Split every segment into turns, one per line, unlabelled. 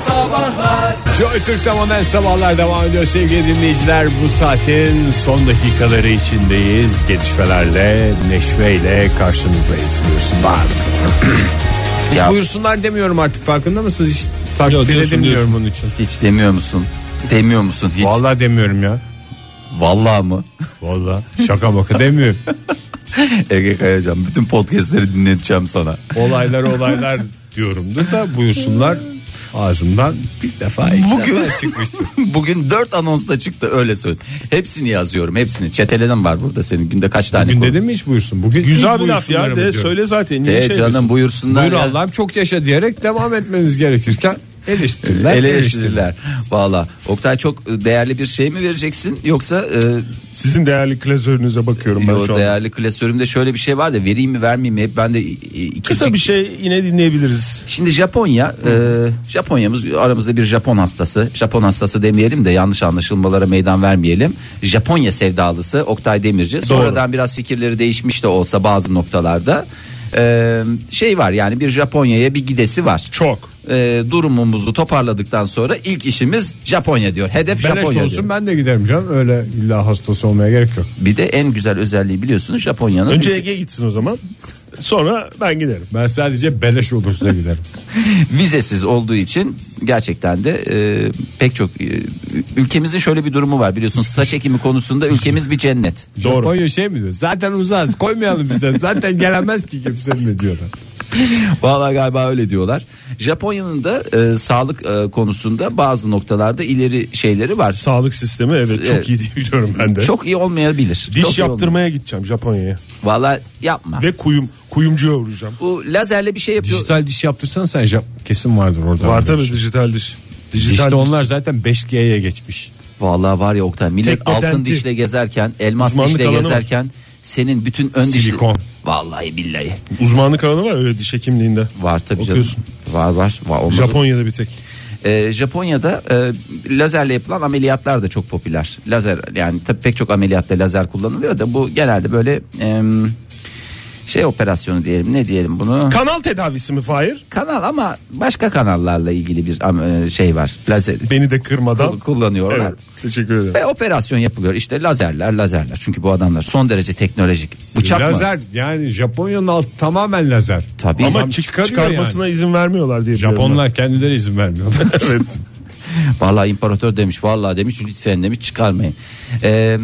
Sabahlar
Joy Türk'te modern sabahlar devam ediyor sevgili dinleyiciler. Bu saatin son dakikaları içindeyiz. Gelişmelerle, neşveyle karşınızdayız. Buyursunlar. Hiç
Ya-
buyursunlar demiyorum artık farkında mısınız? Hiç takdir
Yok, diyorsun,
edemiyorum bunun için.
Hiç demiyor musun? Demiyor musun hiç?
Vallahi demiyorum ya.
Vallahi mı?
Vallahi şaka maka demiyorum.
Ege Kayacan bütün podcastleri dinleteceğim sana.
Olaylar olaylar diyorumdur da buyursunlar ağzımdan bir defa iki
Bugün-
defa çıkmıştır.
Bugün 4 anons da çıktı öyle söyle. Hepsini yazıyorum hepsini. Çeteleden var burada senin günde kaç tane
Bugün
konu-
dedim mi hiç buyursun? Bugün
Güzel
ilk
bir laf
buyursunlarımı
ya de
diyorum.
söyle zaten. Niye
De
şey yapıyorsun?
E, Ee, canım buyursunlar.
Buyur
ya.
Allah'ım çok yaşa diyerek devam etmemiz gerekirken eleştiriler.
Eleştiriler. Valla Oktay çok değerli bir şey mi vereceksin yoksa e,
Sizin değerli klasörünüze bakıyorum ben
yo,
şu an.
değerli klasörümde şöyle bir şey var da vereyim mi vermeyeyim mi hep ben de e, iki
Kısa bir şey yine dinleyebiliriz.
Şimdi Japonya, e, Japonya'mız aramızda bir Japon hastası. Japon hastası demeyelim de yanlış anlaşılmalara meydan vermeyelim. Japonya sevdalısı Oktay Demirci. Sonradan biraz fikirleri değişmiş de olsa bazı noktalarda. E, şey var yani bir Japonya'ya bir gidesi var.
Çok.
E, durumumuzu toparladıktan sonra ilk işimiz Japonya diyor. Hedef
Beleş
Japonya
olsun
diyor.
ben de giderim canım. Öyle illa hastası olmaya gerek yok.
Bir de en güzel özelliği biliyorsunuz Japonya'nın.
Önce Ege gitsin o zaman. Sonra ben giderim.
Ben sadece beleş olursa giderim.
vizesiz olduğu için gerçekten de e, pek çok e, ülkemizin şöyle bir durumu var biliyorsunuz saç ekimi konusunda ülkemiz bir cennet.
Doğru.
Japonya şey mi diyor? Zaten uzağız koymayalım bize. Zaten gelemez ki kimse mi diyorlar.
Vallahi galiba öyle diyorlar. Japonya'nın da e, sağlık e, konusunda bazı noktalarda ileri şeyleri var.
Sağlık sistemi evet
Evet.
çok iyi diye biliyorum ben de.
Çok iyi olmayabilir.
Diş
Çok iyi olmayabilir.
yaptırmaya gideceğim Japonya'ya.
Vallahi yapma.
Ve kuyum kuyumcuya uğrayacağım.
Bu lazerle bir şey yapıyor.
Dijital diş yaptırsan sen Jap- kesin vardır orada.
Var tabii dijital diş. Dijital
İşte
diş.
onlar zaten 5G'ye geçmiş.
Vallahi var ya Oktay millet
Tek
altın
patenti.
dişle gezerken, elmas
Uzmanlık
dişle
alanı var.
gezerken senin bütün ön dişli-
Silikon.
Vallahi billahi
Uzmanlık alanı var öyle diş hekimliğinde.
var tabii canım.
Okuyorsun.
Var var. var olmaz olur mu?
Japonya'da bir tek.
Ee, Japonya'da e, lazerle yapılan ameliyatlar da çok popüler. Lazer yani tabii pek çok ameliyatta lazer kullanılıyor da bu genelde böyle e, şey operasyonu diyelim ne diyelim bunu.
Kanal tedavisi mi Fahir?
kanal ama başka kanallarla ilgili bir am- e, şey var. Lazer
Beni de kırmadan.
kullanıyorlar.
Evet, teşekkür ederim.
Ve operasyon yapılıyor işte lazerler lazerler çünkü bu adamlar son derece teknolojik bıçak mı?
lazer yani Japonya'nın altı tamamen lazer.
Tabii.
Ama
Adam
çık-
çıkarıyor
çıkarmasına izin vermiyorlar diye biliyorum
Japonlar kendileri izin vermiyor.
ben. evet.
Vallahi imparator demiş vallahi demiş lütfen demiş çıkarmayın. Ee,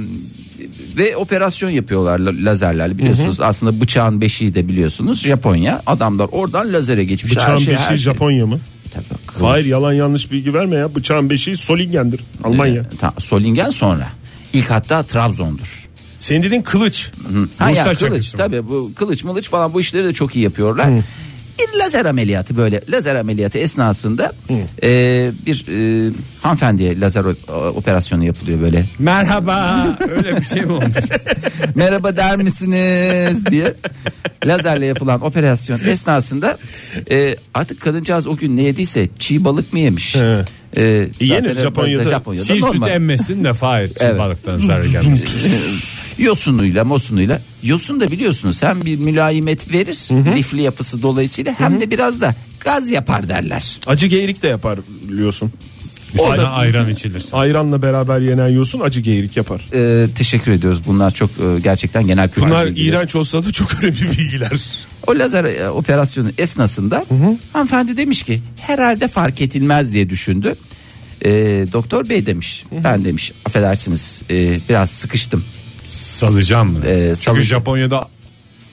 ve operasyon yapıyorlar la- lazerlerle biliyorsunuz. Aslında bıçağın beşiği de biliyorsunuz Japonya. Adamlar oradan lazere geçmiş.
Bıçağın
her şey,
beşiği
her şey.
Japonya mı?
Tabii, kılıç.
Hayır yalan yanlış bilgi verme ya. Bıçağın beşiği Solingen'dir. Almanya.
Ee, ta- Solingen sonra. İlk hatta Trabzon'dur.
Senin dediğin kılıç.
Ha ya,
Bursa
kılıç
çakısı mı?
tabii bu kılıç mılıç falan bu işleri de çok iyi yapıyorlar. Bir lazer ameliyatı böyle lazer ameliyatı esnasında e, bir e, hanımefendiye lazer o- operasyonu yapılıyor böyle
Merhaba. Öyle bir şey mi olmuş?
merhaba der misiniz diye lazerle yapılan operasyon esnasında e, artık kadıncağız o gün ne yediyse çiğ balık mı yemiş?
He.
E,
yenir
zaten
Japonya'da.
Japonya'da
Çiğ süt
normal.
emmesin de Fahir. Çiğ
Evet.
balıktan zarar gelmesin.
yosunuyla mosunuyla yosun da biliyorsunuz hem bir mülayimet verir lifli yapısı dolayısıyla hem de biraz da gaz yapar derler.
Acı geyrik de yapar biliyorsun.
Üstüne ayran içilir.
Ayranla beraber yenen yosun acı geyrik yapar.
E, teşekkür ediyoruz. Bunlar çok e, gerçekten genel kültür.
Bunlar
bilgileri.
iğrenç olsa da çok önemli bilgiler.
O lazer e, operasyonu esnasında hanımefendi demiş ki herhalde fark edilmez diye düşündü. E, doktor bey demiş ben demiş affedersiniz e, biraz sıkıştım.
Salacağım mı?
Ee, salı-
Çünkü Japonya'da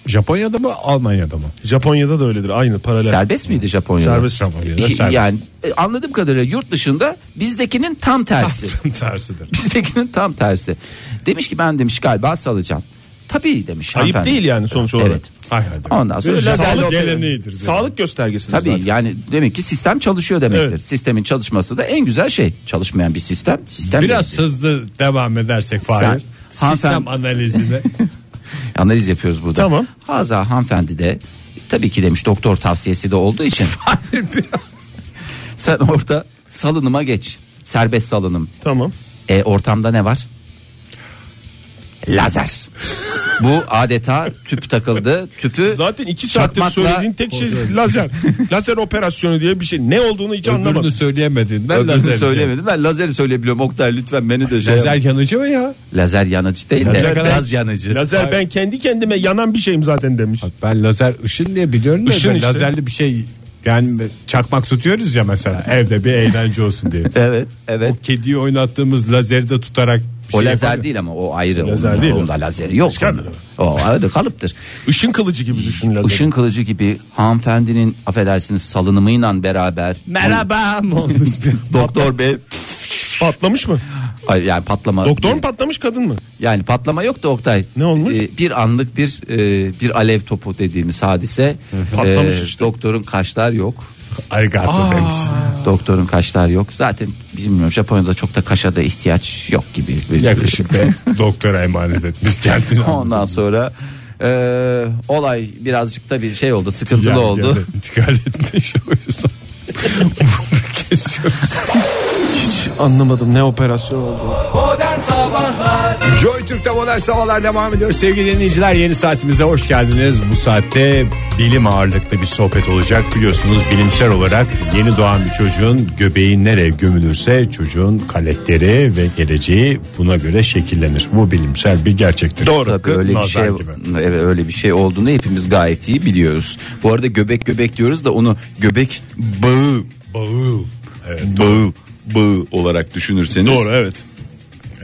Japonya'da mı Almanya'da mı?
Japonya'da da öyledir aynı paralel.
Serbest miydi Japonya'da?
Serbest.
Japonya'da
E,
serbest.
Yani e, anladığım kadarıyla yurt dışında bizdekinin tam tersi.
Tersidir.
bizdekinin tam tersi. Demiş ki ben demiş galiba salacağım. Tabii demiş.
Ayıp
hanımefendi.
değil yani sonuç olarak.
Evet.
Hay hadi.
Ondan sonra
Sağlık
lazerle opera-
geleneğidir.
Sağlık göstergesi
Tabii
zaten.
yani demek ki sistem çalışıyor demektir.
Evet.
Sistemin çalışması da en güzel şey. Çalışmayan bir sistem sistem
Biraz hızlı devam edersek Fahir.
Sen-
Sistem
hanımefendi-
analizini
Analiz yapıyoruz burada.
Tamam.
Haza hanımefendi de tabii ki demiş doktor tavsiyesi de olduğu için. Sen orada salınıma geç. Serbest salınım.
Tamam.
E ortamda ne var? Lazer. Bu adeta tüp takıldı. Tüpü
Zaten iki saattir
çakmakla-
söylediğin tek şey
Kontrol.
lazer. lazer operasyonu diye bir şey. Ne olduğunu hiç anlamadım.
Öbürünü söyleyemediğinden
Öbürünü
lazer.
söylemedim. Ben lazeri söyleyebiliyorum. Oktay lütfen beni de şey yap.
Lazer yanıcı mı ya?
Lazer yanıcı değil de
Lazer-
gaz yanıcı.
Lazer ben kendi kendime yanan bir şeyim zaten demiş.
Ben lazer ışın diye biliyorum da
Işın
ben
işte.
lazerli bir şey yani çakmak tutuyoruz ya mesela evde bir eğlence olsun diye.
Evet, evet.
O kediyi oynattığımız lazeri de tutarak bir
O
şey
lazer
yapar mı?
değil ama o ayrı.
Lazer
onun,
değil mi?
Onda lazeri yok.
Başka mı?
O ayrı kalıptır.
Işın kılıcı gibi düşün lazeri.
Işın kılıcı gibi hanımefendinin affedersiniz salınımıyla beraber
Merhaba mı olmuş?
doktor bey
Patlamış mı?
Ay, yani patlama
Doktor mu patlamış kadın mı?
yani patlama yok da Oktay.
Ne olmuş?
Ee, bir anlık bir e, bir alev topu dediğimiz hadise. E,
Patlamış işte.
Doktorun kaşlar yok.
Arigato demiş.
Doktorun kaşlar yok. Zaten bilmiyorum Japonya'da çok da kaşa da ihtiyaç yok gibi.
Yakışıklı doktora emanet etmiş kendini.
Ondan sonra e, olay birazcık da bir şey oldu, sıkıntılı
Yani
oldu.
yerden İntikal etmiş o yüzden. Bunu kesiyoruz.
Anlamadım ne operasyon oldu.
Joy Türk'te modern sabahlar devam ediyor. Sevgili dinleyiciler yeni saatimize hoş geldiniz. Bu saatte bilim ağırlıklı bir sohbet olacak. Biliyorsunuz bilimsel olarak yeni doğan bir çocuğun göbeği nereye gömülürse çocuğun karakteri ve geleceği buna göre şekillenir. Bu bilimsel bir gerçektir.
Doğru.
Tabii öyle bir
nazar
şey
gibi.
evet, öyle bir şey olduğunu hepimiz gayet iyi biliyoruz. Bu arada göbek göbek diyoruz da onu göbek bağı
Bağı. Evet.
bağı bağı olarak düşünürseniz
Doğru evet.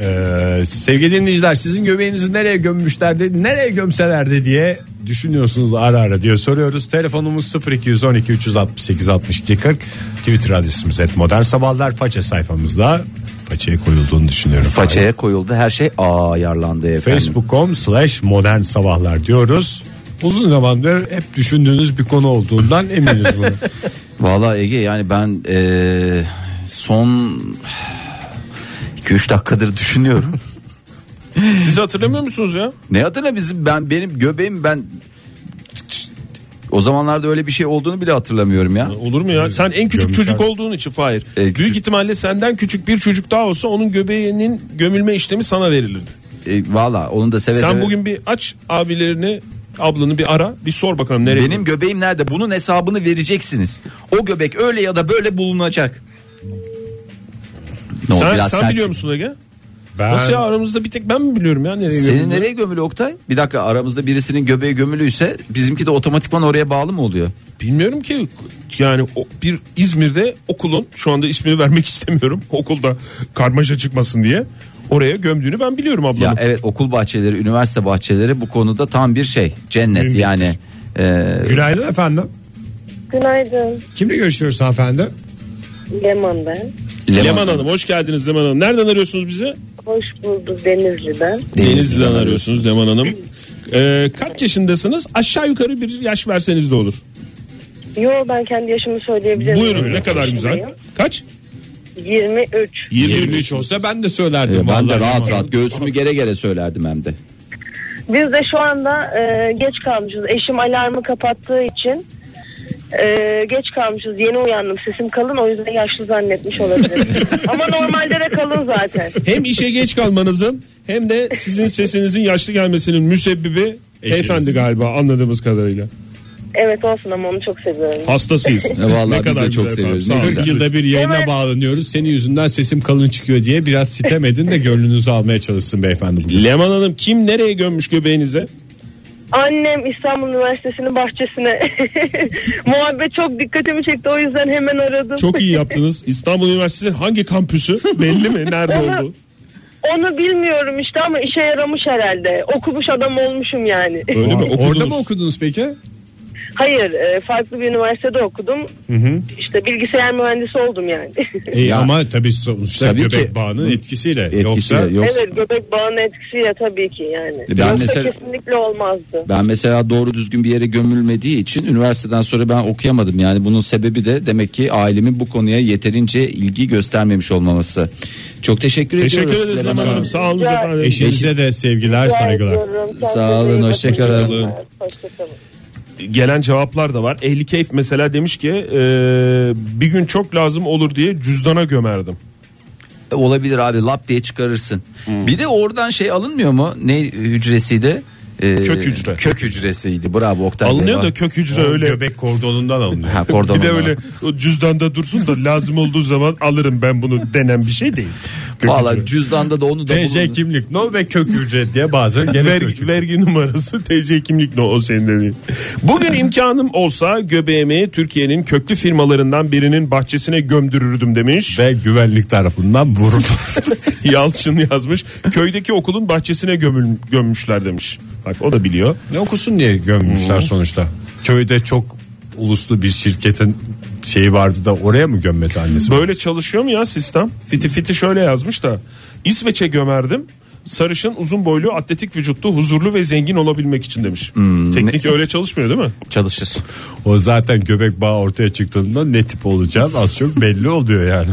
Ee, sevgili dinleyiciler sizin göbeğinizi nereye gömmüşlerdi nereye gömselerdi diye düşünüyorsunuz ara ara diyor soruyoruz telefonumuz 0212 368 62 40 twitter adresimiz et modern sabahlar faça sayfamızda façaya koyulduğunu düşünüyorum
Façaya koyuldu her şey ayarlandı efendim.
facebook.com slash modern sabahlar diyoruz uzun zamandır hep düşündüğünüz bir konu olduğundan eminiz bunu
Valla Ege yani ben eee, son 2-3 dakikadır düşünüyorum.
Siz hatırlamıyor musunuz ya?
ne adına bizim ben benim göbeğim ben o zamanlarda öyle bir şey olduğunu bile hatırlamıyorum ya.
Olur mu ya? Sen en küçük
Gömüşler.
çocuk olduğun için Fahir.
E,
Büyük
küçük-
ihtimalle senden küçük bir çocuk daha olsa onun göbeğinin gömülme işlemi sana verilirdi.
E, Valla onu da seve
Sen
seve-
bugün bir aç abilerini ablanı bir ara bir sor bakalım nereye.
Benim göbeğim nerede? Bunun hesabını vereceksiniz. O göbek öyle ya da böyle bulunacak. Ne oldu?
sen,
Biraz
sen
sert
biliyor
çıktı.
musun Ege?
ben
Nasıl ya aramızda bir tek ben mi biliyorum ya nereye
Senin
gömüldüğünü?
nereye gömülü Oktay? Bir dakika aramızda birisinin göbeği gömülüyse bizimki de otomatikman oraya bağlı mı oluyor?
Bilmiyorum ki yani o- bir İzmir'de okulun şu anda ismini vermek istemiyorum. Okulda karmaşa çıkmasın diye oraya gömdüğünü ben biliyorum ablamın.
Ya evet okul bahçeleri, üniversite bahçeleri bu konuda tam bir şey. Cennet
Mümkün.
yani. Ee,
günaydın efendim
Günaydın.
kimle görüşüyoruz hanımefendi
Leman ben.
e, Leman-
Leman Hanım hoş geldiniz Leman Hanım. Nereden arıyorsunuz bizi?
Hoş bulduk Denizli'den.
Denizli'den
Denizli'den arıyorsunuz Leman Hanım. Ee, kaç yaşındasınız? Aşağı yukarı bir yaş verseniz de olur.
Yo ben kendi yaşımı söyleyebilirim.
Buyurun ne kadar güzel. Kaç?
23.
23 olsa ben de söylerdim
E,
Ee, ben de
vallahi.
rahat rahat göğsümü gere gere söylerdim hem de.
Biz de şu anda e, geç kalmışız. Eşim alarmı kapattığı için e, geç kalmışız. Yeni uyandım. Sesim kalın o yüzden yaşlı zannetmiş olabilirim. Ama normalde de kalın zaten.
Hem işe geç kalmanızın hem de sizin sesinizin yaşlı gelmesinin müsebbibi beyefendi galiba anladığımız kadarıyla.
Evet olsun ama onu çok seviyorum.
Hastasıyız.
E, vallahi biz de
güzel
çok
efendim,
seviyoruz.
sağ
Ne
olun.
güzel.
40 yılda bir yayına
Evet.
bağlanıyoruz. Senin yüzünden sesim kalın çıkıyor diye biraz sitem edin de gönlünüzü almaya çalışsın beyefendi. Bugün.
Leman Hanım kim nereye gömmüş göbeğinize?
Annem İstanbul Üniversitesi'nin bahçesine muhabbet çok dikkatimi çekti o yüzden hemen aradım.
Çok iyi yaptınız. İstanbul Üniversitesi hangi kampüsü? Belli mi? Nerede oldu?
Onu bilmiyorum işte ama işe yaramış herhalde. Okumuş adam olmuşum yani.
Öyle mi? Okudunuz.
Orada mı okudunuz peki?
Hayır, e, farklı bir üniversitede okudum. İşte bilgisayar mühendisi oldum yani.
E,
Ya-
ama tabii sonuçta
Tabii
göbek
ki.
bağının etkisiyle.
Etkisi
Yoksa
yoksa.
evet, göbek bağının etkisiyle tabii ki yani.
Ben
Yoksa
mesela-
kesinlikle olmazdı.
Ben mesela doğru düzgün bir yere gömülmediği için üniversiteden sonra ben okuyamadım. Yani bunun sebebi de demek ki ailemin bu konuya yeterince ilgi göstermemiş olmaması. Çok teşekkür,
Teşekkür
ediyoruz.
ederiz
Leman
Leman Hanım.
Hanım.
Sağ olun
Rica-
efendim.
eşinize de sevgiler,
Rica
saygılar.
ediyorum. Kendinize
Sağ olun,
iyi bakın.
hoşçakalın.
Hoşçakalın.
Gelen cevaplar da var. Ehli Keyf mesela demiş ki e, bir gün çok lazım olur diye cüzdana gömerdim. Hmm.
Olabilir abi lap diye çıkarırsın. Bir de oradan şey alınmıyor mu? Ne hücresiydi? e,
Kök hücre.
Kök hücresiydi. Bravo Oktay Bey.
Alınıyor da
Vay.
kök hücre öyle.
Göbek kordonundan alınıyor.
Ha, kordon
Bir de
olarak.
öyle o cüzdanda dursun da lazım olduğu zaman alırım ben bunu denen bir şey değil. Kök
Valla
hücre.
cüzdanda da onu da
TC
bulun.
kimlik no ve kök ücret diye bazen
Ver,
gene
vergi numarası TC kimlik ne o senin dediğin. Bugün imkanım olsa göbeğimi Türkiye'nin köklü firmalarından birinin bahçesine gömdürürdüm demiş.
ve güvenlik tarafından vurulur.
Yalçın yazmış. Köydeki okulun bahçesine gömül, gömmüşler demiş. Bak o da biliyor.
ne okusun diye gömmüşler sonuçta. Köyde çok uluslu bir şirketin şeyi vardı da oraya mı gömmedi annesi?
Böyle çalışıyor mu ya sistem? Fiti fiti şöyle yazmış da. İsveç'e gömerdim. Sarışın uzun boylu atletik vücutlu huzurlu ve zengin olabilmek için demiş.
Hmm,
Teknik öyle çalışmıyor değil mi?
çalışır.
O zaten göbek bağı ortaya çıktığında ne tip olacağın az çok belli oluyor yani.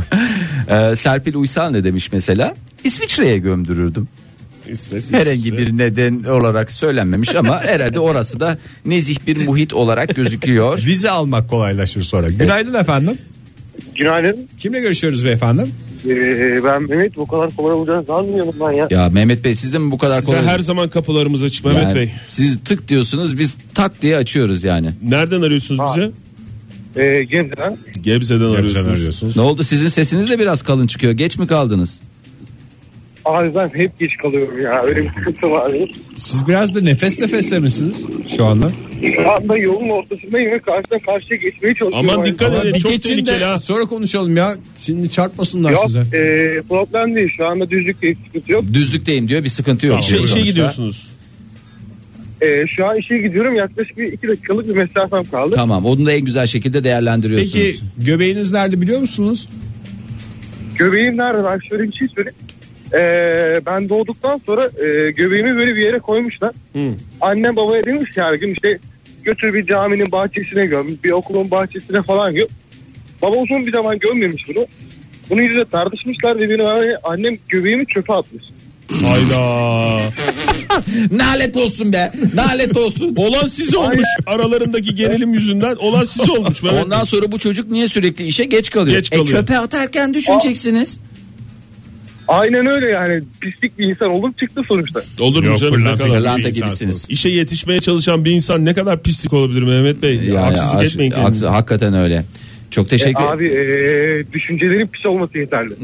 Ee, Serpil Uysal ne demiş mesela? İsviçre'ye gömdürürdüm.
İsveç.
Herhangi bir neden olarak söylenmemiş ama herhalde orası da nezih bir muhit olarak gözüküyor.
Vize almak kolaylaşır sonra. Günaydın efendim.
Günaydın.
Kimle görüşüyoruz beyefendi?
Ee, ben Mehmet bu kadar kolay olacağını sanmıyorum ben ya.
Ya Mehmet Bey siz de mi bu kadar
Size
kolay?
her zaman kapılarımız açık
Yani
Mehmet Bey.
Siz tık diyorsunuz biz tak diye açıyoruz yani.
Nereden arıyorsunuz
Ha.
bize?
Ee, Gebze'den.
Gebze'den arıyorsunuz.
arıyorsunuz.
Ne oldu sizin sesiniz de biraz kalın çıkıyor. Geç mi kaldınız?
Abi ben hep geç kalıyorum ya. Öyle bir sıkıntı var.
Siz biraz da nefes nefese misiniz şu anda?
Şu anda yolun ortasındayım ve karşıdan karşıya geçmeye çalışıyorum.
Aman dikkat
Ama-
edin.
bir
çok
geçin de
tehlikeli ha.
sonra konuşalım ya. Şimdi çarpmasınlar
Yok
size.
e, problem değil. Şu anda düzlükteyiz. Sıkıntı yok.
Düzlükteyim diyor bir sıkıntı yok.
İşe,
Sonuçta.
işe gidiyorsunuz.
E, şu an işe gidiyorum. Yaklaşık bir iki dakikalık bir mesafem kaldı.
Tamam onu da en güzel şekilde değerlendiriyorsunuz.
Peki göbeğiniz nerede biliyor musunuz?
Göbeğim nerede? Ben şöyle bir şey söyleyeyim. Ee, ben doğduktan sonra e, göbeğimi böyle bir yere koymuşlar. Annem babaya demiş ki her gün işte götür bir caminin bahçesine göm, bir okulun bahçesine falan göm. Baba uzun bir zaman gömmemiş bunu. Bunun yüzüne tartışmışlar ve benim anne- annem göbeğimi çöpe atmış.
Hayda.
Nalet olsun be nalet olsun.
Olan siz olmuş. Aralarındaki gerilim yüzünden olan siz olmuş. Mehmet
Ondan sonra bu çocuk niye sürekli işe geç kalıyor?
Geç kalıyor.
E çöpe atarken düşüneceksiniz.
Aynen öyle yani pislik bir insan oldum çıktı sonuçta.
Bey. Olur mu
Yok,
canım ne
fırlanta
kadar?
gibi.
Lanta
İyi
gibisiniz.
insansınız.
İşe yetişmeye çalışan bir insan ne kadar pislik olabilir Mehmet Bey?
Yani
Haksızlık
aş-
etmeyin
haks-
kendinize.
hakikaten öyle. Çok teşekkür
Abi e, düşüncelerin pis olması yeterli.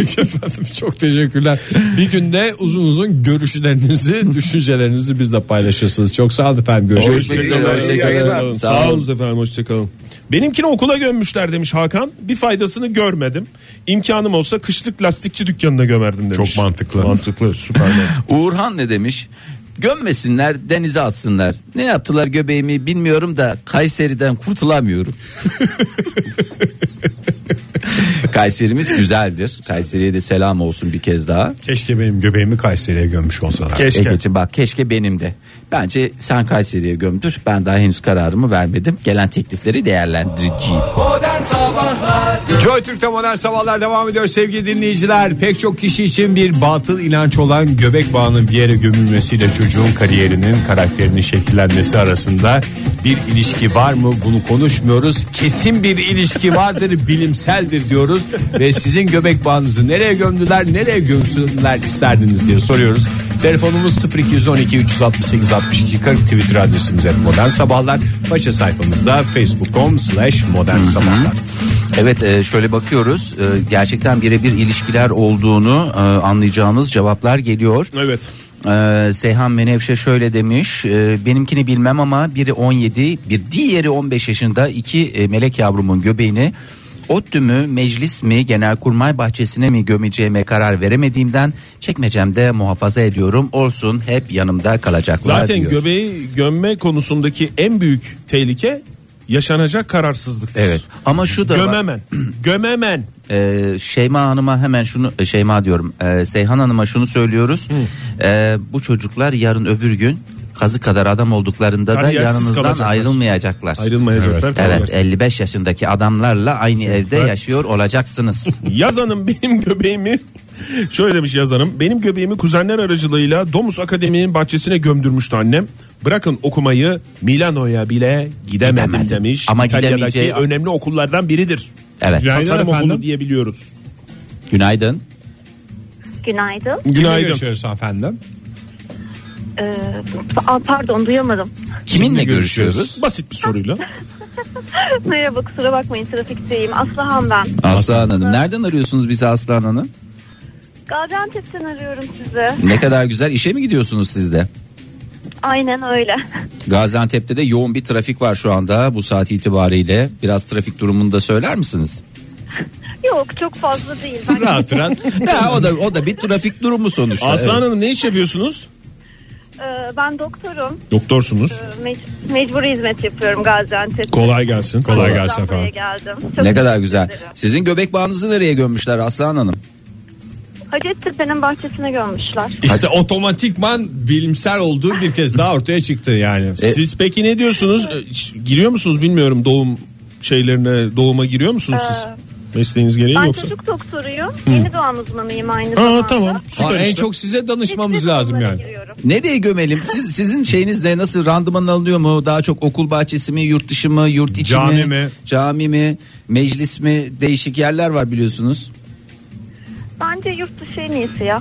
Efendim, çok teşekkürler. Bir günde uzun uzun görüşlerinizi, düşüncelerinizi bizle paylaşırsınız. Çok sağ olun efendim. Görüşmek üzere.
Görüşmek üzere,
Hoşçakalın.
hoşçakalın.
Sağ olun efendim hoşçakalın. Benimkini okula gömmüşler demiş Hakan. Bir faydasını görmedim. İmkanım olsa kışlık lastikçi dükkanına gömerdim demiş.
Çok mantıklı.
Mantıklı süper mantıklı.
Uğurhan ne demiş? Gömmesinler denize atsınlar. Ne yaptılar göbeğimi bilmiyorum da Kayseri'den kurtulamıyorum. Kayserimiz güzeldir. Kayseri'ye de selam olsun bir kez daha.
Keşke benim göbeğimi Kayseri'ye gömmüş olsalar.
Keşke.
Ege'ciğim bak keşke benim de. Bence sen Kayseri'ye gömdür. Ben daha henüz kararımı vermedim. Gelen teklifleri değerlendireceğim.
Joy Türk'te modern sabahlar devam ediyor sevgili dinleyiciler. Pek çok kişi için bir batıl inanç olan göbek bağının bir yere gömülmesiyle çocuğun kariyerinin karakterinin şekillenmesi arasında bir ilişki var mı bunu konuşmuyoruz. Kesin bir ilişki vardır bilimseldir diyoruz ve sizin göbek bağınızı nereye gömdüler nereye gömsünler isterdiniz diye soruyoruz. Telefonumuz 0212 368 62 40 Twitter adresimiz et modern sabahlar. Faça sayfamızda facebook.com slash modern sabahlar.
Evet e, şöyle bakıyoruz. E, Gerçekten birebir ilişkiler olduğunu e, anlayacağımız cevaplar geliyor.
Evet.
Ee, Seyhan Menevşe şöyle demiş e, benimkini bilmem ama biri 17 bir diğeri 15 yaşında iki e, melek yavrumun göbeğini ODTÜ mü meclis mi genelkurmay bahçesine mi gömeceğime karar veremediğimden çekmecemde muhafaza ediyorum olsun hep yanımda kalacaklar
Zaten
diyor.
göbeği gömme konusundaki en büyük tehlike yaşanacak kararsızlıktır.
Evet ama şu da var.
Gömemen. Gömemen.
Ee, Şeyma Hanım'a hemen şunu e, Şeyma diyorum Ee, Seyhan Hanım'a şunu söylüyoruz Ee, bu çocuklar yarın öbür gün kazı kadar adam olduklarında da
Kariyersiz
yanınızdan
kalacaklar.
ayrılmayacaklar.
Ayrılmayacaklar. kalırlar.
Evet 55 yaşındaki adamlarla aynı evde yaşıyor olacaksınız.
Yaz Hanım benim göbeğimi şöyle demiş Yaz Hanım benim göbeğimi kuzenler aracılığıyla Domus Akademi'nin bahçesine gömdürmüştü annem. Bırakın okumayı Milano'ya bile gidemedim,
Gidemedim.
demiş.
Ama
İtalya'daki
gidemeyeceği-
önemli okullardan biridir.
Evet.
Günaydın
Tasarım
efendim.
okulu diyebiliyoruz.
Günaydın.
Günaydın.
Kimle
Günaydın.
görüşüyoruz efendim?
Ee, aa, pardon duyamadım.
Kiminle görüşüyoruz?
Basit bir soruyla.
Merhaba kusura bakmayın trafikteyim. Aslıhan ben.
Aslan Hanım. Nereden arıyorsunuz bizi Aslan Hanım?
Gaziantep'ten arıyorum sizi.
Ne kadar güzel işe mi gidiyorsunuz siz de?
Aynen öyle.
Gaziantep'te de yoğun bir trafik var şu anda bu saat itibariyle. Biraz trafik durumunu da söyler misiniz?
Yok çok fazla değil. Ben
Rahat rahat.
ya o da o da bir trafik durumu sonuçta.
Aslan
Evet.
Hanım ne iş yapıyorsunuz?
Ee, ben doktorum.
Doktorsunuz.
Ee, mec- mecburi hizmet yapıyorum Gaziantep'te.
Kolay gelsin.
Kolay gelsin
Buradan buraya
efendim.
geldim. Çok
Ne
teşekkür
kadar güzel.
ederim.
Sizin göbek bağınızı nereye gömmüşler Aslan Hanım?
Hacettepe'nin bahçesine gömmüşler.
İşte otomatikman bilimsel olduğu bir kez daha ortaya çıktı yani.
E,
Siz
Siz peki ne diyorsunuz? E, hiç Giriyor musunuz bilmiyorum doğum şeylerine doğuma giriyor musunuz siz? Mesleğiniz gereği
Ben
yoksa.
çocuk doktoruyum. Yeni doğan uzmanıyım aynı zamanda.
Aa, tamam. Süper
Aa, en
işte.
çok size danışmamız
Hepsi
lazım
konulara
yani.
giriyorum.
Nereye gömelim? Siz sizin şeyiniz ne? Nasıl randıman alınıyor mu? Daha çok okul bahçesi mi, yurt dışı mı, yurt içi mi?
Cami mi?
Cami mi? Meclis mi? Değişik yerler var biliyorsunuz.
Bence yurt dışı en iyisi ya.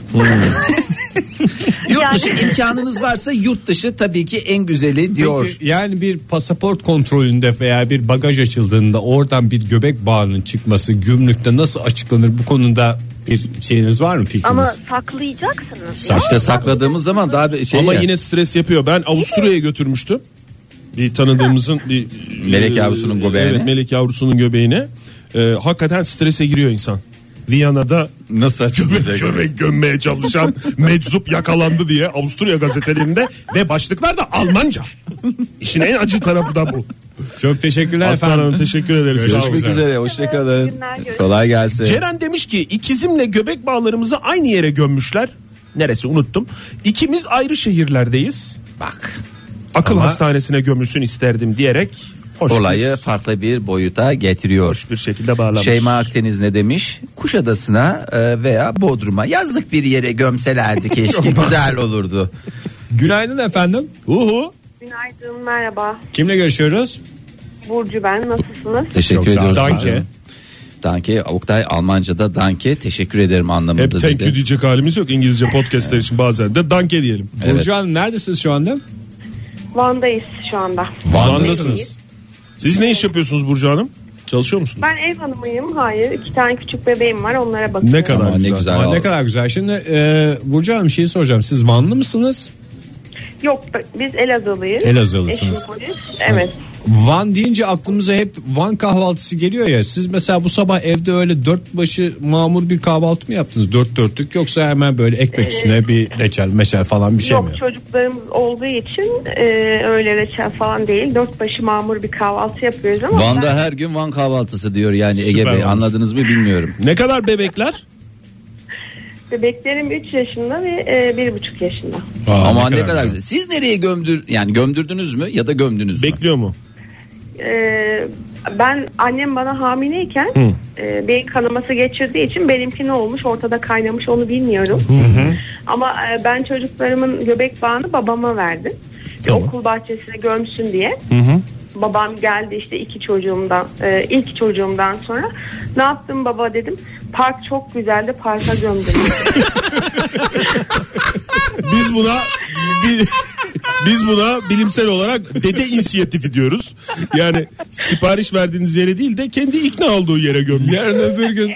Yurt
Yani-
dışı imkanınız varsa yurt dışı tabii ki en güzeli diyor.
Peki, yani bir pasaport kontrolünde veya bir bagaj açıldığında oradan bir göbek bağının çıkması gümrükte nasıl açıklanır bu konuda bir şeyiniz var mı fikriniz?
Ama saklayacaksınız. ya.
İşte sakladığımız zaman daha bir şey
Ama
ya.
yine stres yapıyor. Ben Avusturya'ya götürmüştüm. Bir tanıdığımızın bir e,
Melek yavrusunun göbeğine.
Evet, melek yavrusunun göbeğine. Ee, hakikaten strese giriyor insan. Viyana'da
nasıl açılacak?
göbek gömmeye çalışan meczup yakalandı diye Avusturya gazetelerinde ve başlıklar da Almanca. İşin en acı tarafı da bu.
Çok teşekkürler
Aslan
efendim.
Hanım teşekkür ederiz. Sağ olun.
Görüşmek üzere. Hoşçakalın.
İyi günler, görüşürüz.
Kolay gelsin.
Ceren demiş ki ikizimle göbek bağlarımızı aynı yere gömmüşler. Neresi unuttum. İkimiz ayrı şehirlerdeyiz.
Bak.
Akıl hastanesine gömülsün isterdim diyerek hoş
Olayı farklı bir boyuta getiriyor.
bir şekilde bağlamış.
Şeyma Akdeniz ne demiş? Kuşadası'na e, veya Bodrum'a yazlık bir yere gömselerdi keşke güzel olurdu.
Günaydın efendim.
Uhu.
Günaydın, merhaba.
Kimle görüşüyoruz?
Burcu ben, nasılsınız?
Teşekkür
Çok sağ olun.
ediyoruz.
Danke.
Danke. Oktay Almanca'da danke. Teşekkür ederim anlamında
Hep thank you
dedi.
diyecek halimiz yok İngilizce podcastler için bazen de danke diyelim.
Evet.
Burcu Hanım neredesiniz şu anda?
Van'dayız şu anda.
Anlasınız. Siz ne iş yapıyorsunuz Burcu Hanım? Çalışıyor musunuz?
Ben ev hanımıyım, hayır. iki tane küçük bebeğim var, onlara bakıyorum.
Ne kadar
Ama ne
güzel.
güzel.
Aa, ne kadar güzel. Şimdi e, Burcu Hanım şeyi soracağım. Siz Vanlı mısınız?
Yok, biz Elazığlıyız.
Elazığlısınız.
Eşim polis, evet.
Van deyince aklımıza hep Van kahvaltısı geliyor ya. Siz mesela bu sabah evde öyle dört başı mamur bir kahvaltı mı yaptınız? Dört dörtlük yoksa hemen böyle ekmek üstüne bir reçel meçel falan bir şey
Yok
mi?
çocuklarımız olduğu için e, öyle reçel falan değil. Dört başı mamur bir kahvaltı yapıyoruz ama
Van'da
ben
her gün Van kahvaltısı diyor yani Ege
Süper
Bey
olmuş.
anladınız mı bilmiyorum.
Ne kadar bebekler?
bebeklerim 3 yaşında ve e, bir buçuk yaşında.
Aa,
Ama ne kadar güzel. Siz nereye gömdür yani gömdürdünüz mü ya da gömdünüz mü?
Bekliyor mu?
E, ben annem bana hamileyken e, beyin kanaması geçirdiği için benimki ne olmuş ortada kaynamış onu bilmiyorum. Ama e, ben çocuklarımın göbek bağını babama verdim. Bir Okul bahçesine gömsün diye. Babam geldi işte iki çocuğumdan e, ilk çocuğumdan sonra ne yaptım baba dedim park çok güzeldi parka gömdüm.
Biz buna bi- biz buna bilimsel olarak dede inisiyatifi diyoruz. Yani sipariş verdiğiniz yere değil de kendi ikna olduğu yere gömüyor.
Yarın öbür gün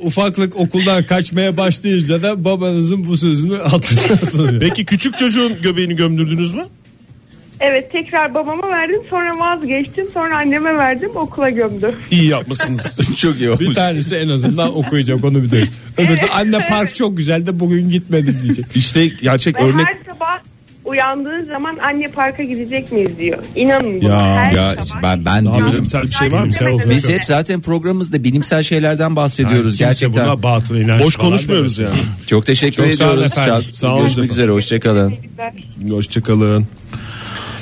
ufaklık okuldan kaçmaya başlayınca da babanızın bu sözünü hatırlarsınız.
Peki küçük çocuğun göbeğini gömdürdünüz mü?
Evet tekrar babama verdim sonra vazgeçtim sonra anneme verdim okula gömdü.
İyi yapmışsınız.
Çok iyi
bir
olmuş.
tanesi en azından okuyacak onu biliyoruz. Öbür de anne park çok güzel de bugün gitmedim diyecek.
İşte gerçek
Ve
örnek
her sabah uyandığı zaman anne parka gidecek miyiz diyor. İnanın buna her
Ya
sabah.
ben ben
Daha
diyorum.
bilimsel bir şey var mı?
Bilimsel oldu.
Biz hep zaten programımızda bilimsel şeylerden bahsediyoruz
Kimse
gerçekten.
buna batıl inanç
Boş
falan
konuşmuyoruz yani.
Çok teşekkür
Çok sağ olun
ediyoruz.
efendim.
Sağ-
Sağ olun
Görüşmek
efendim.
üzere hoşçakalın.
Hoşçakalın.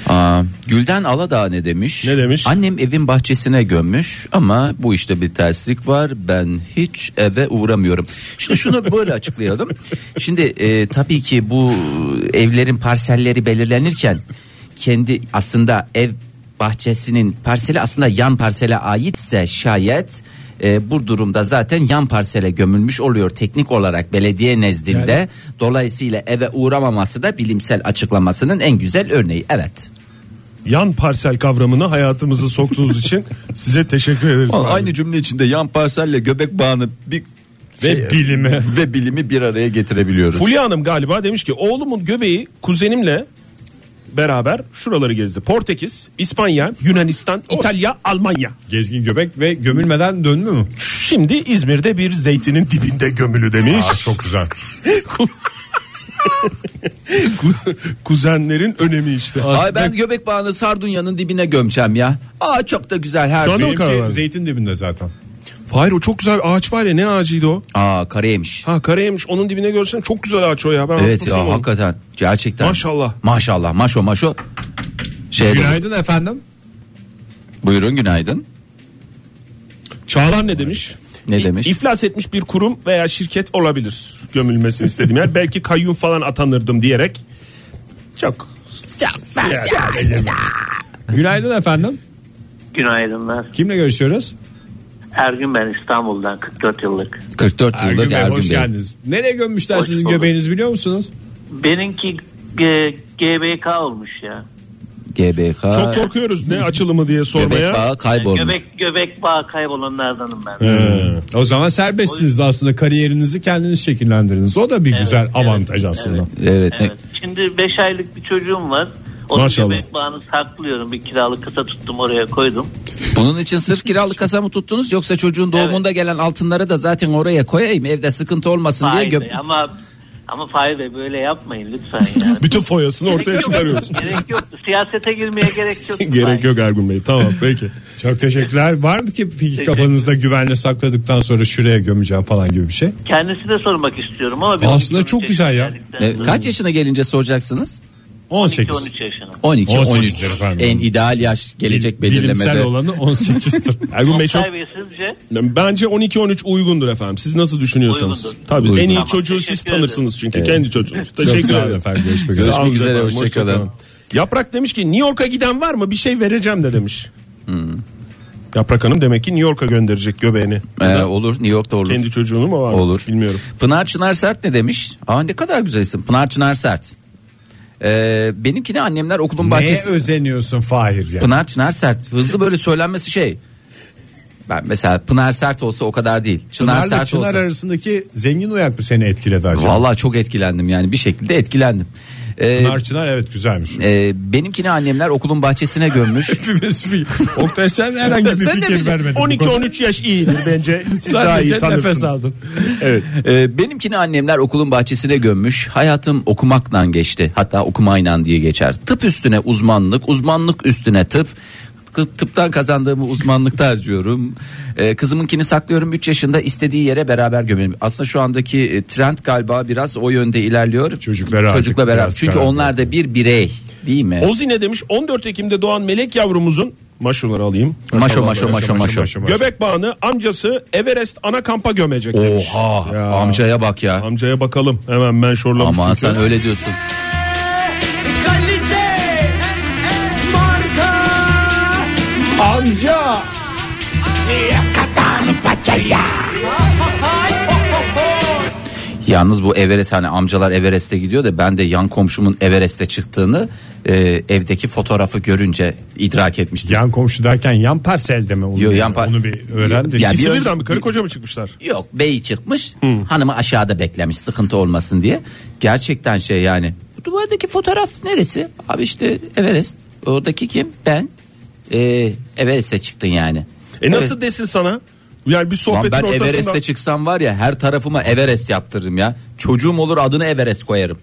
Aa, Gülden Aladağ ne demiş?
Ne demiş?
Annem evin bahçesine gömmüş ama bu işte bir terslik var. Ben hiç eve uğramıyorum. Şimdi şunu böyle açıklayalım. Şimdi e, tabii ki bu evlerin parselleri belirlenirken kendi aslında ev bahçesinin parseli aslında yan parsele aitse şayet e, bu durumda zaten yan parsele gömülmüş oluyor teknik olarak belediye nezdinde. Dolayısıyla eve uğramaması da bilimsel açıklamasının en güzel örneği. Evet.
Yan parsel kavramını hayatımıza soktuğunuz için size teşekkür ederiz. Fahri.
cümle içinde yan parselle göbek bağını bir
Ve
şey
bilimi.
ve bilimi bir araya getirebiliyoruz.
Fulya Hanım galiba demiş ki oğlumun göbeği kuzenimle beraber şuraları gezdi. Portekiz, İspanya, Yunanistan, İtalya, Almanya.
Gezgin göbek ve gömülmeden dönme mü?
Şimdi İzmir'de bir zeytinin dibinde gömülü demiş.
çok güzel.
Ku- Kuzenlerin önemi işte.
Ay ben göbek bağını sardunya'nın dibine gömçem ya. Aa çok da güzel her
Sonra-
gün.
o kadar
Benimki
var.
zeytin dibinde zaten.
Hayır o çok güzel ağaç var ya ne ağacıydı o?
Aa kareymiş.
Ha kareymiş onun dibine görsen çok güzel ağaç o ya. Ben
Evet
hastasıyım
ya
onun.
hakikaten gerçekten.
Maşallah.
Maşallah maşo maşo. Şey
Günaydın efendim.
buyurun günaydın.
Çağlar ne demiş?
Ne demiş?
İ- İflas etmiş bir kurum veya şirket olabilir gömülmesini istediğim yer. Belki kayyum falan atanırdım diyerek çok
Günaydın efendim.
Günaydınlar.
Kimle görüşüyoruz?
Ergün ben İstanbul'dan 44 yıllık.
44 yıllık
Ergün Bey
Ergün
hoş
Bey.
geldiniz. Nereye gömmüşler
Hoş
sizin
bulduk.
göbeğinizi biliyor musunuz?
Benimki e, G- GBK olmuş ya.
GBK.
çok korkuyoruz ne açılımı diye
Göbek
sormaya.
bağı kaybolmuş.
Göbek göbek bağı kaybolanlardanım ben.
Ee.
O zaman serbestsiniz aslında kariyerinizi kendiniz şekillendiriniz. O da bir güzel
evet,
avantaj aslında.
Evet. ne-
Evet. Şimdi 5 aylık bir çocuğum var. Onun
Maşallah.
göbek bağını saklıyorum. Bir kiralık kasa tuttum oraya koydum.
Bunun için sırf kiralık kasa mı tuttunuz yoksa çocuğun doğumunda gelen altınları da zaten oraya koyayım evde sıkıntı olmasın diye
Fahir
gö-
Bey ama ama Fahir Bey böyle yapmayın lütfen yani.
Bütün foyasını ortaya
Gerek yok.
çıkarıyoruz.
gerek yok. Siyasete girmeye gerek yok.
Gerek
Fahir.
yok Ergun Bey tamam peki.
Çok teşekkürler. Var mı ki peki kafanızda güvenle sakladıktan sonra şuraya gömeceğim falan gibi bir şey?
Kendisine sormak istiyorum ama
Aslında çok güzel ya.
E, kaç yaşına gelince soracaksınız?
18.
13 yaşına.
12,
18
13.
efendim.
En ideal yaş gelecek
Bilimsel
belirlemede.
olanı 18'dir.
Ergun Bey çok
Fahir Bey sizce?
bence 12-13 uygundur efendim. Siz nasıl düşünüyorsanız.
Uygundur.
Tabii
Uygun.
en iyi
Tamam,
çocuğu siz
teşekkür ederim.
tanırsınız çünkü kendi çocuğunuz.
Çok
Teşekkür
sağ olun
ederim.
efendim. Görüşmek üzere.
Sağ olun
Görüşmek üzere,
efendim,
hoşça
hoşça
kalın.
kalın. Yaprak demiş ki New York'a giden var mı? Bir şey vereceğim de demiş.
Hmm.
Yaprak Hanım demek ki New York'a gönderecek göbeğini.
E, olur New York'ta olur.
Kendi çocuğunu mu var? mı?
Olur.
Bilmiyorum.
Pınar Çınar Sert ne demiş? Aa ne kadar güzel isim. Pınar Çınar Sert. Ee, benimkini annemler okulun
Neye
bahçesi.
özeniyorsun Fahir ya?
Pınar Çınar Sert. Hızlı böyle söylenmesi şey. Ben mesela Pınar Sert olsa o kadar değil. Çınar
Pınar'la
Sert
Çınar
olsa.
arasındaki zengin uyak mı seni etkiledi acaba?
Vallahi çok etkilendim yani bir şekilde etkilendim. Ee,
Pınar Çınar evet güzelmiş.
e, benimkini annemler okulun bahçesine gömmüş.
Hepimiz bir- Oktay sen herhangi bir
Sen de
fikir
bizi-
vermedin. bu konuda.
12-13 yaş iyidir bence. Siz daha iyi
Sadece nefes
tanırsınız.
aldın.
Evet.
Ee, benimkini annemler okulun bahçesine gömmüş. Hayatım okumakla geçti. Hatta okumayla diye geçer. Tıp üstüne uzmanlık, uzmanlık üstüne tıp. Tıp- Tıptan kazandığımı uzmanlıkta harcıyorum. Ee, kızımınkini saklıyorum 3 yaşında istediği yere beraber gömelim. Aslında şu andaki e, trend galiba biraz o yönde ilerliyor.
Çocuklara artık
Çocukla beraber.
biraz
Çünkü
karar
onlar da bir birey değil mi?
Ozi ne demiş? 14 Ekim'de doğan melek yavrumuzun maşoları alayım.
maşo maşo maşo maşo.
Göbek bağını amcası Everest ana kampa gömecek demiş.
Oha amcaya bak ya.
Amcaya bakalım. Hemen ben şorlamış.
Aman
çünkü.
sen öyle diyorsun.
Amca.
Yalnız bu Everest hani amcalar Everest'e gidiyor da ben de yan komşumun Everest'e çıktığını e, evdeki fotoğrafı görünce idrak etmiştim.
Yan komşu derken yan parselde mi? Onu,
Yo,
bir-
yan par-
onu bir öğren de.
Ya
İkisi
bir
birden
önce-
mi? Karı koca mı çıkmışlar? E,
Yok bey çıkmış hanımı aşağıda beklemiş sıkıntı olmasın diye. Gerçekten şey yani bu duvardaki fotoğraf neresi? Abi işte Everest oradaki kim? Ben. E, Everest'e çıktın yani.
E nasıl desin sana? Yani bir
Lan
sohbetin
ben
ortasında.
Everest'e çıksam var ya her tarafıma Everest yaptırırım ya. Çocuğum olur adını Everest koyarım.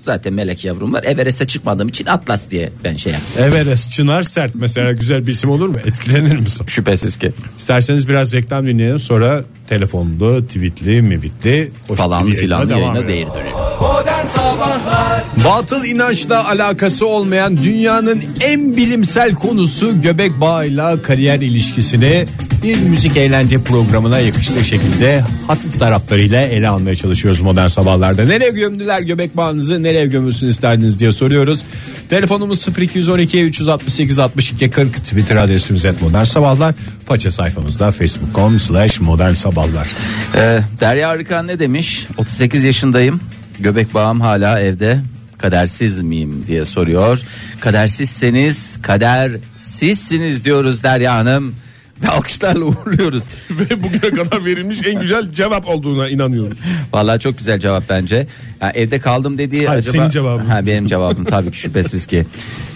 Zaten melek yavrum var. Everest'e çıkmadığım için Atlas diye ben şey yaptım.
Everest Çınar Sert mesela güzel bir isim olur mu? Etkilenir misin?
Şüphesiz ki.
İsterseniz biraz reklam dinleyelim sonra telefonlu, tweetli, mimikli
falan filan yayına
değil.
değir dönüyor.
Modern Sabahlar
Batıl inançla alakası olmayan dünyanın en bilimsel konusu göbek bağıyla kariyer ilişkisini bir müzik eğlence programına yakıştığı şekilde hafif taraflarıyla ele almaya çalışıyoruz modern sabahlarda. Nereye gömdüler göbek bağınızı nereye gömülsün isterdiniz diye soruyoruz. Telefonumuz 0212 368 62 40 Twitter adresimiz et modern sabahlar. Paça sayfamızda facebook.com slash modern sabahlar.
Ee, Derya Arıkan ne demiş? 38 yaşındayım. Göbek bağım hala evde. Kadersiz miyim diye soruyor. Kadersizseniz kadersizsiniz diyoruz Derya Hanım. Ve alkışlarla uğurluyoruz.
Ve bugüne kadar verilmiş en güzel cevap olduğuna inanıyoruz.
Vallahi çok güzel cevap bence. Ya evde kaldım dediği
Hayır,
acaba...
senin cevabın.
Ha, benim cevabım tabii ki şüphesiz ki.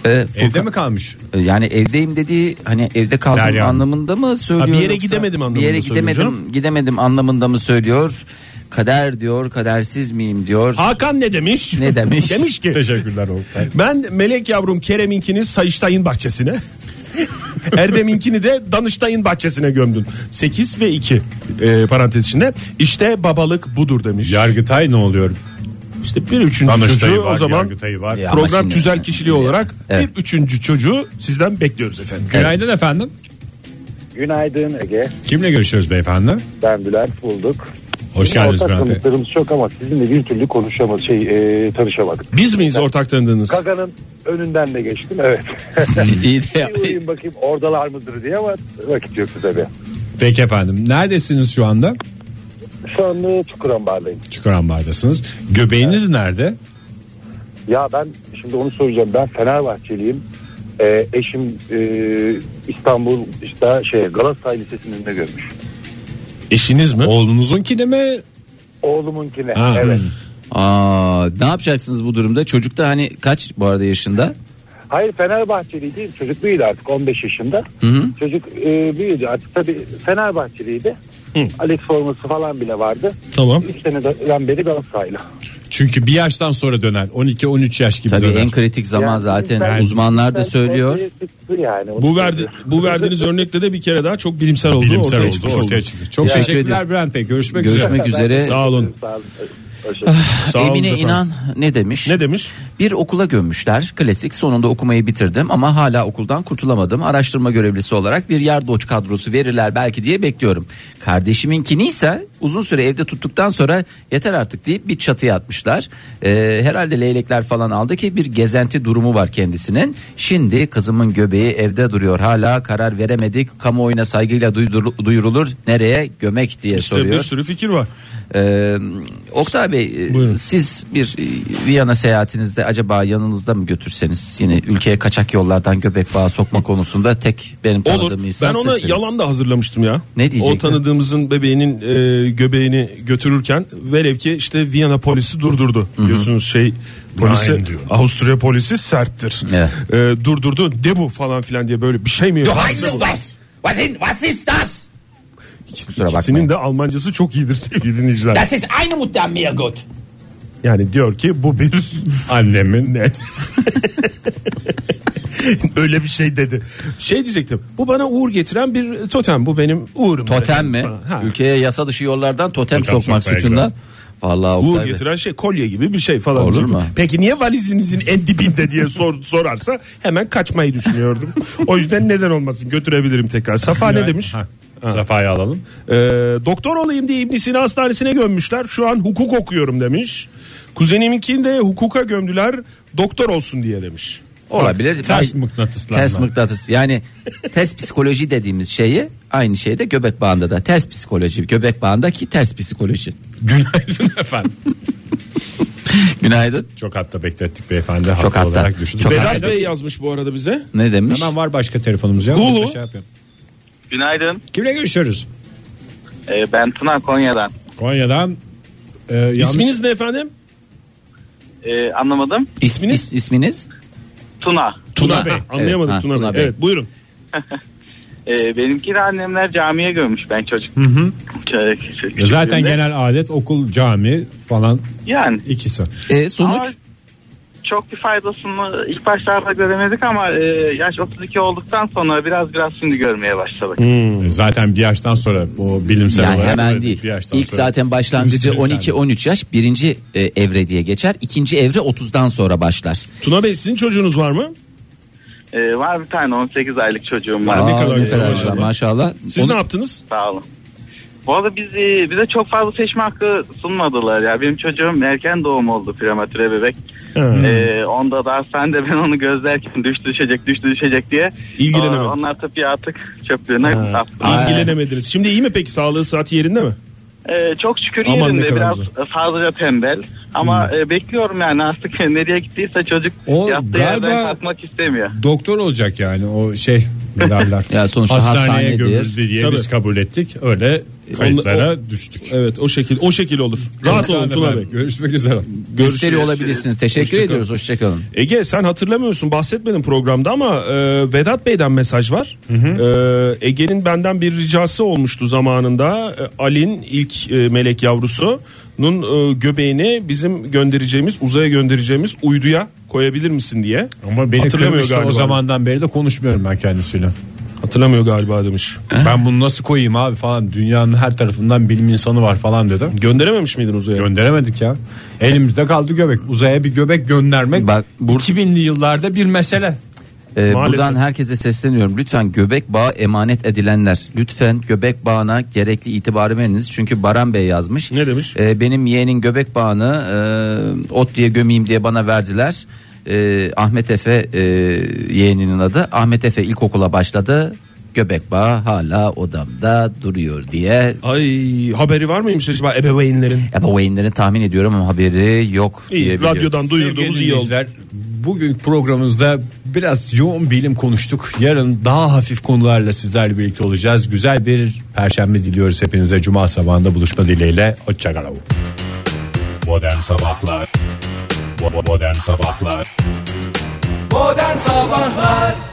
Ee,
Evde
Furkan-
mi kalmış?
Yani evdeyim dediği hani evde kaldım
Derya Hanım.
anlamında mı söylüyor?
Ha, bir yere
yoksa-
gidemedim anlamında
Bir yere
söylüyor
gidemedim,
canım.
gidemedim anlamında mı söylüyor? Kader diyor, kadersiz miyim diyor.
Hakan ne demiş?
Ne demiş?
demiş ki.
Teşekkürler Oktay.
Ben melek yavrum Kerem'inkini Sayıştay'ın bahçesine. Erdem'inkini de Danıştay'ın bahçesine gömdüm. 8 ve 2 e, parantez içinde. İşte babalık budur demiş.
Yargıtay ne oluyor?
İşte bir üçüncü
Danıştay'ı
çocuğu
var,
o zaman
Yargıtay'ı var.
Ya. E, ama
program
şimdi-
tüzel kişiliği olarak
Evet.
bir üçüncü çocuğu sizden bekliyoruz efendim.
Günaydın efendim.
Günaydın Ege.
Kimle görüşüyoruz beyefendi?
Ben Bülent bulduk.
Hoş geldiniz
Ortak
Bülent Bey.
tanıdıklarımız çok ama sizinle bir türlü konuşamadık, şey, e, tanışamadık.
Biz miyiz ortak tanıdığınız?
Gaga'nın önünden de geçtim evet.
İyi de
Bir uğrayayım bakayım oradalar mıdır diye ama vakit yoktu tabii.
Peki efendim. Neredesiniz şu anda?
Şu an Çukuran Bar'dayım.
Çukurambar'dasınız. Göbeğiniz nerede?
Ya ben şimdi onu soracağım. Ben Fenerbahçeliyim. E, eşim e, İstanbul işte şey Galatasaray Lisesi'nin önünde görmüş.
Eşiniz mi?
Oğlunuzunki de mi?
Oğlumunkine.
Ha.
Evet.
Aa, ne yapacaksınız bu durumda? Çocuk da hani kaç bu arada yaşında?
Hayır Fenerbahçeli değil çocuk değil artık 15 yaşında. Çocuk e, büyüdü artık tabii Fenerbahçeliydi. Alex forması falan bile vardı.
Tamam.
3 seneden beri Galatasaraylı.
Çünkü bir yaştan sonra döner. 12-13 yaş gibi
Tabii
döner.
en kritik zaman
Yani
zaten
ben-
uzmanlar da
Ben
söylüyor.
ortaya çıktı Yani, Onu
Bu verdi,
söylüyorum.
bu verdiğiniz örnekte de bir kere daha çok bilimsel oldu.
Bilimsel
ortaya
oldu.
çıkmış
Ortaya çıktı. Çok
Teşekkür
teşekkürler
ediyoruz.
Bülent Bey. Görüşmek, üzere.
Görüşmek üzere.
Sağ olun.
Sağ olun. Hoşçakalın.
Sağ olun
Emine
efendim.
inan ne demiş?
Ne demiş?
Bir okula gömmüşler. Klasik sonunda okumayı bitirdim ama hala okuldan kurtulamadım. Araştırma görevlisi olarak bir yardoç kadrosu verirler belki diye bekliyorum. Kardeşiminkini ise uzun süre evde tuttuktan sonra yeter artık deyip bir çatıya atmışlar. Ee, herhalde leylekler falan aldı ki bir gezenti durumu var kendisinin. Şimdi kızımın göbeği evde duruyor. Hala karar veremedik. Kamuoyuna saygıyla duyurul- duyurulur. Nereye? Gömek diye
İşte
soruyor.
bir sürü fikir var.
Ee, Oktay Bey e,
Buyurun.
siz bir e, Viyana seyahatinizde acaba yanınızda mı götürseniz yine ülkeye kaçak yollardan göbek bağı sokma konusunda tek benim tanıdığım
Olur.
insan
Ben ona
sizsiniz.
yalan da hazırlamıştım ya.
Ne diyecektin?
O tanıdığımızın bebeğinin e, göbeğini götürürken velev ki işte Viyana polisi durdurdu. Biliyorsunuz şey polisi
Nein diyor.
Avusturya polisi serttir.
Evet.
E, durdurdu. De bu falan filan diye böyle bir şey mi?
Yo, was ist das? Was ist- was ist das? Kusura bakmayın.
İkisinin de Almancası çok iyidir sevgili dinleyiciler.
Das ist eine Mutter mehr Gott.
Yani diyor ki bu bir annemin ne? Öyle bir şey dedi. Şey diyecektim. Bu bana uğur getiren bir totem. Bu benim uğurum.
Totem mi?
Falan. Ha.
Ülkeye yasa dışı yollardan totem,
Totem
sokmak
sokmaya
suçundan. Vallahi
Uğur
Oktay Bey.
getiren şey kolye gibi bir şey falan.
Olur
diyecektim.
mu?
Peki niye valizinizin en dibinde diye sor, sorarsa hemen kaçmayı düşünüyordum. o yüzden neden olmasın götürebilirim tekrar. Safa ne demiş?
Ha. Rafa'yı alalım.
Ee, doktor olayım diye İbn Sina Hastanesi'ne gömmüşler. Şu an hukuk okuyorum demiş. Kuzeniminkini de hukuka gömdüler. Doktor olsun diye demiş.
Olabilir.
Ters
Ay-
mıknatıslar.
Ters mıknatıs. Yani ters psikoloji dediğimiz şeyi aynı şeyde göbek bağında da ters psikoloji. Göbek bağındaki ters psikoloji.
Günaydın efendim.
Günaydın.
Çok hatta beklettik beyefendi. Haklı
hatta.
olarak düşündüm.
Çok
Vedat
hatta.
Vedat Bey yazmış bu arada bize.
Ne demiş?
Hemen var başka telefonumuz ya.
Ulu.
Burada şey yapıyorum.
Günaydın.
Kimle görüşüyoruz?
Ee, ben Tuna Konya'dan.
Konya'dan. E, yanlış-
İsminiz ne efendim?
Ee, anlamadım.
isminiz? isminiz?
Tuna.
Tuna
Tuna.
Bey.
Ha,
Anlayamadım
evet, ha,
Tuna,
Tuna
Bey.
Bey.
Evet buyurun.
Ee, benimki de annemler camiye gömmüş ben çocuk. Çö- çö-
E,
Ya E, Zaten
küçüklüğümde.
genel adet okul, cami falan
Yani.
ikisi.
E, sonuç?
Ama çok bir faydasını ilk başlarda göremedik ama e, yaş 32 olduktan sonra biraz biraz şimdi görmeye başladık.
Hmm.
E, Zaten bir yaştan sonra o bilimsel
Yani
olarak
hemen
evet,
değil.
bir yaştan
İlk
sonra.
zaten başlangıcı
Üstelik
12-13 yaş birinci e, evre diye geçer. İkinci evre 30'dan sonra başlar.
Tuna Bey sizin çocuğunuz var mı?
E, var bir tane 18 aylık çocuğum var.
Aa, ne kadar
ne
güzel,
kadar
maşallah.
güzel maşallah.
Siz
Onu-
ne yaptınız?
Sağ olun. Bu arada biz, e, bize çok fazla seçme hakkı sunmadılar ya. Benim çocuğum erken doğum oldu prematüre bebek.
Hmm.
E, onda da sen de ben onu gözlerken düştü düşecek düştü düşecek diye.
İlgilenemedim.
Sonra Onlar tıpkı atık çöplüğüne attı.
İlgilenemediniz. Şimdi iyi mi peki? Sağlığı saati yerinde mi?
E, çok şükür
Aman ne
yerinde
kadar
biraz
güzel. Hmm.
fazlaca tembel. Ama e, bekliyorum yani artık nereye gittiyse çocuk
O
yattığı
galiba-
yerden kalkmak istemiyor.
Doktor olacak yani o şey ne derler.
Ya sonuçta
Hastaneye
hastanedir.
gömüldü diye
Tabii.
biz kabul ettik. Öyle kayıtlara düştük.
Evet o şekil o şekil olur. Rahat
Sağ
olun Tuna Bey.
efendim. Görüşmek üzere.
Gösteri olabilirsiniz. Teşekkür ediyoruz. Hoşçakalın.
Ege sen hatırlamıyorsun bahsetmedin programda ama e, Vedat Bey'den mesaj var. E, Ege'nin benden bir ricası olmuştu zamanında. E, Ali'nin ilk e, melek yavrusunun e, göbeğini bizim göndereceğimiz uzaya göndereceğimiz uyduya koyabilir misin diye.
Ama beni
hatırlamıyor
kırmıştı
galiba.
o zamandan beri de konuşmuyorum ben kendisiyle.
Hatırlamıyor galiba demiş.
Ben bunu nasıl koyayım abi falan dünyanın her tarafından bilim insanı var falan dedim.
Gönderememiş miydin uzaya?
Gönderemedik ya. Elimizde kaldı göbek. Uzaya bir göbek göndermek
Bak, bur-
2000'li yıllarda bir mesele.
Ee,
Maalesef.
buradan herkese sesleniyorum. Lütfen göbek bağı emanet edilenler. Lütfen göbek bağına gerekli itibarı veriniz. Çünkü Baran Bey yazmış.
Ne demiş?
Ee, benim yeğenin göbek bağını e, ot diye gömeyim diye bana verdiler. Ee, Ahmet Efe e, yeğeninin adı. Ahmet Efe ilkokula başladı. Göbek bağı hala odamda duruyor diye.
Ay haberi var mıymış acaba ebeveynlerin?
Ebeveynlerin tahmin ediyorum ama haberi yok diye
İyi, radyodan duyurduğumuz
Sevgili
iyi oldu.
dinleyiciler, Bugün programımızda biraz yoğun bilim konuştuk. Yarın daha hafif konularla sizlerle birlikte olacağız. Güzel bir perşembe diliyoruz hepinize. Cuma sabahında buluşma dileğiyle. Hoşçakalın.
Modern Sabahlar Bo- bo- Modern Sabahlar
Modern Sabahlar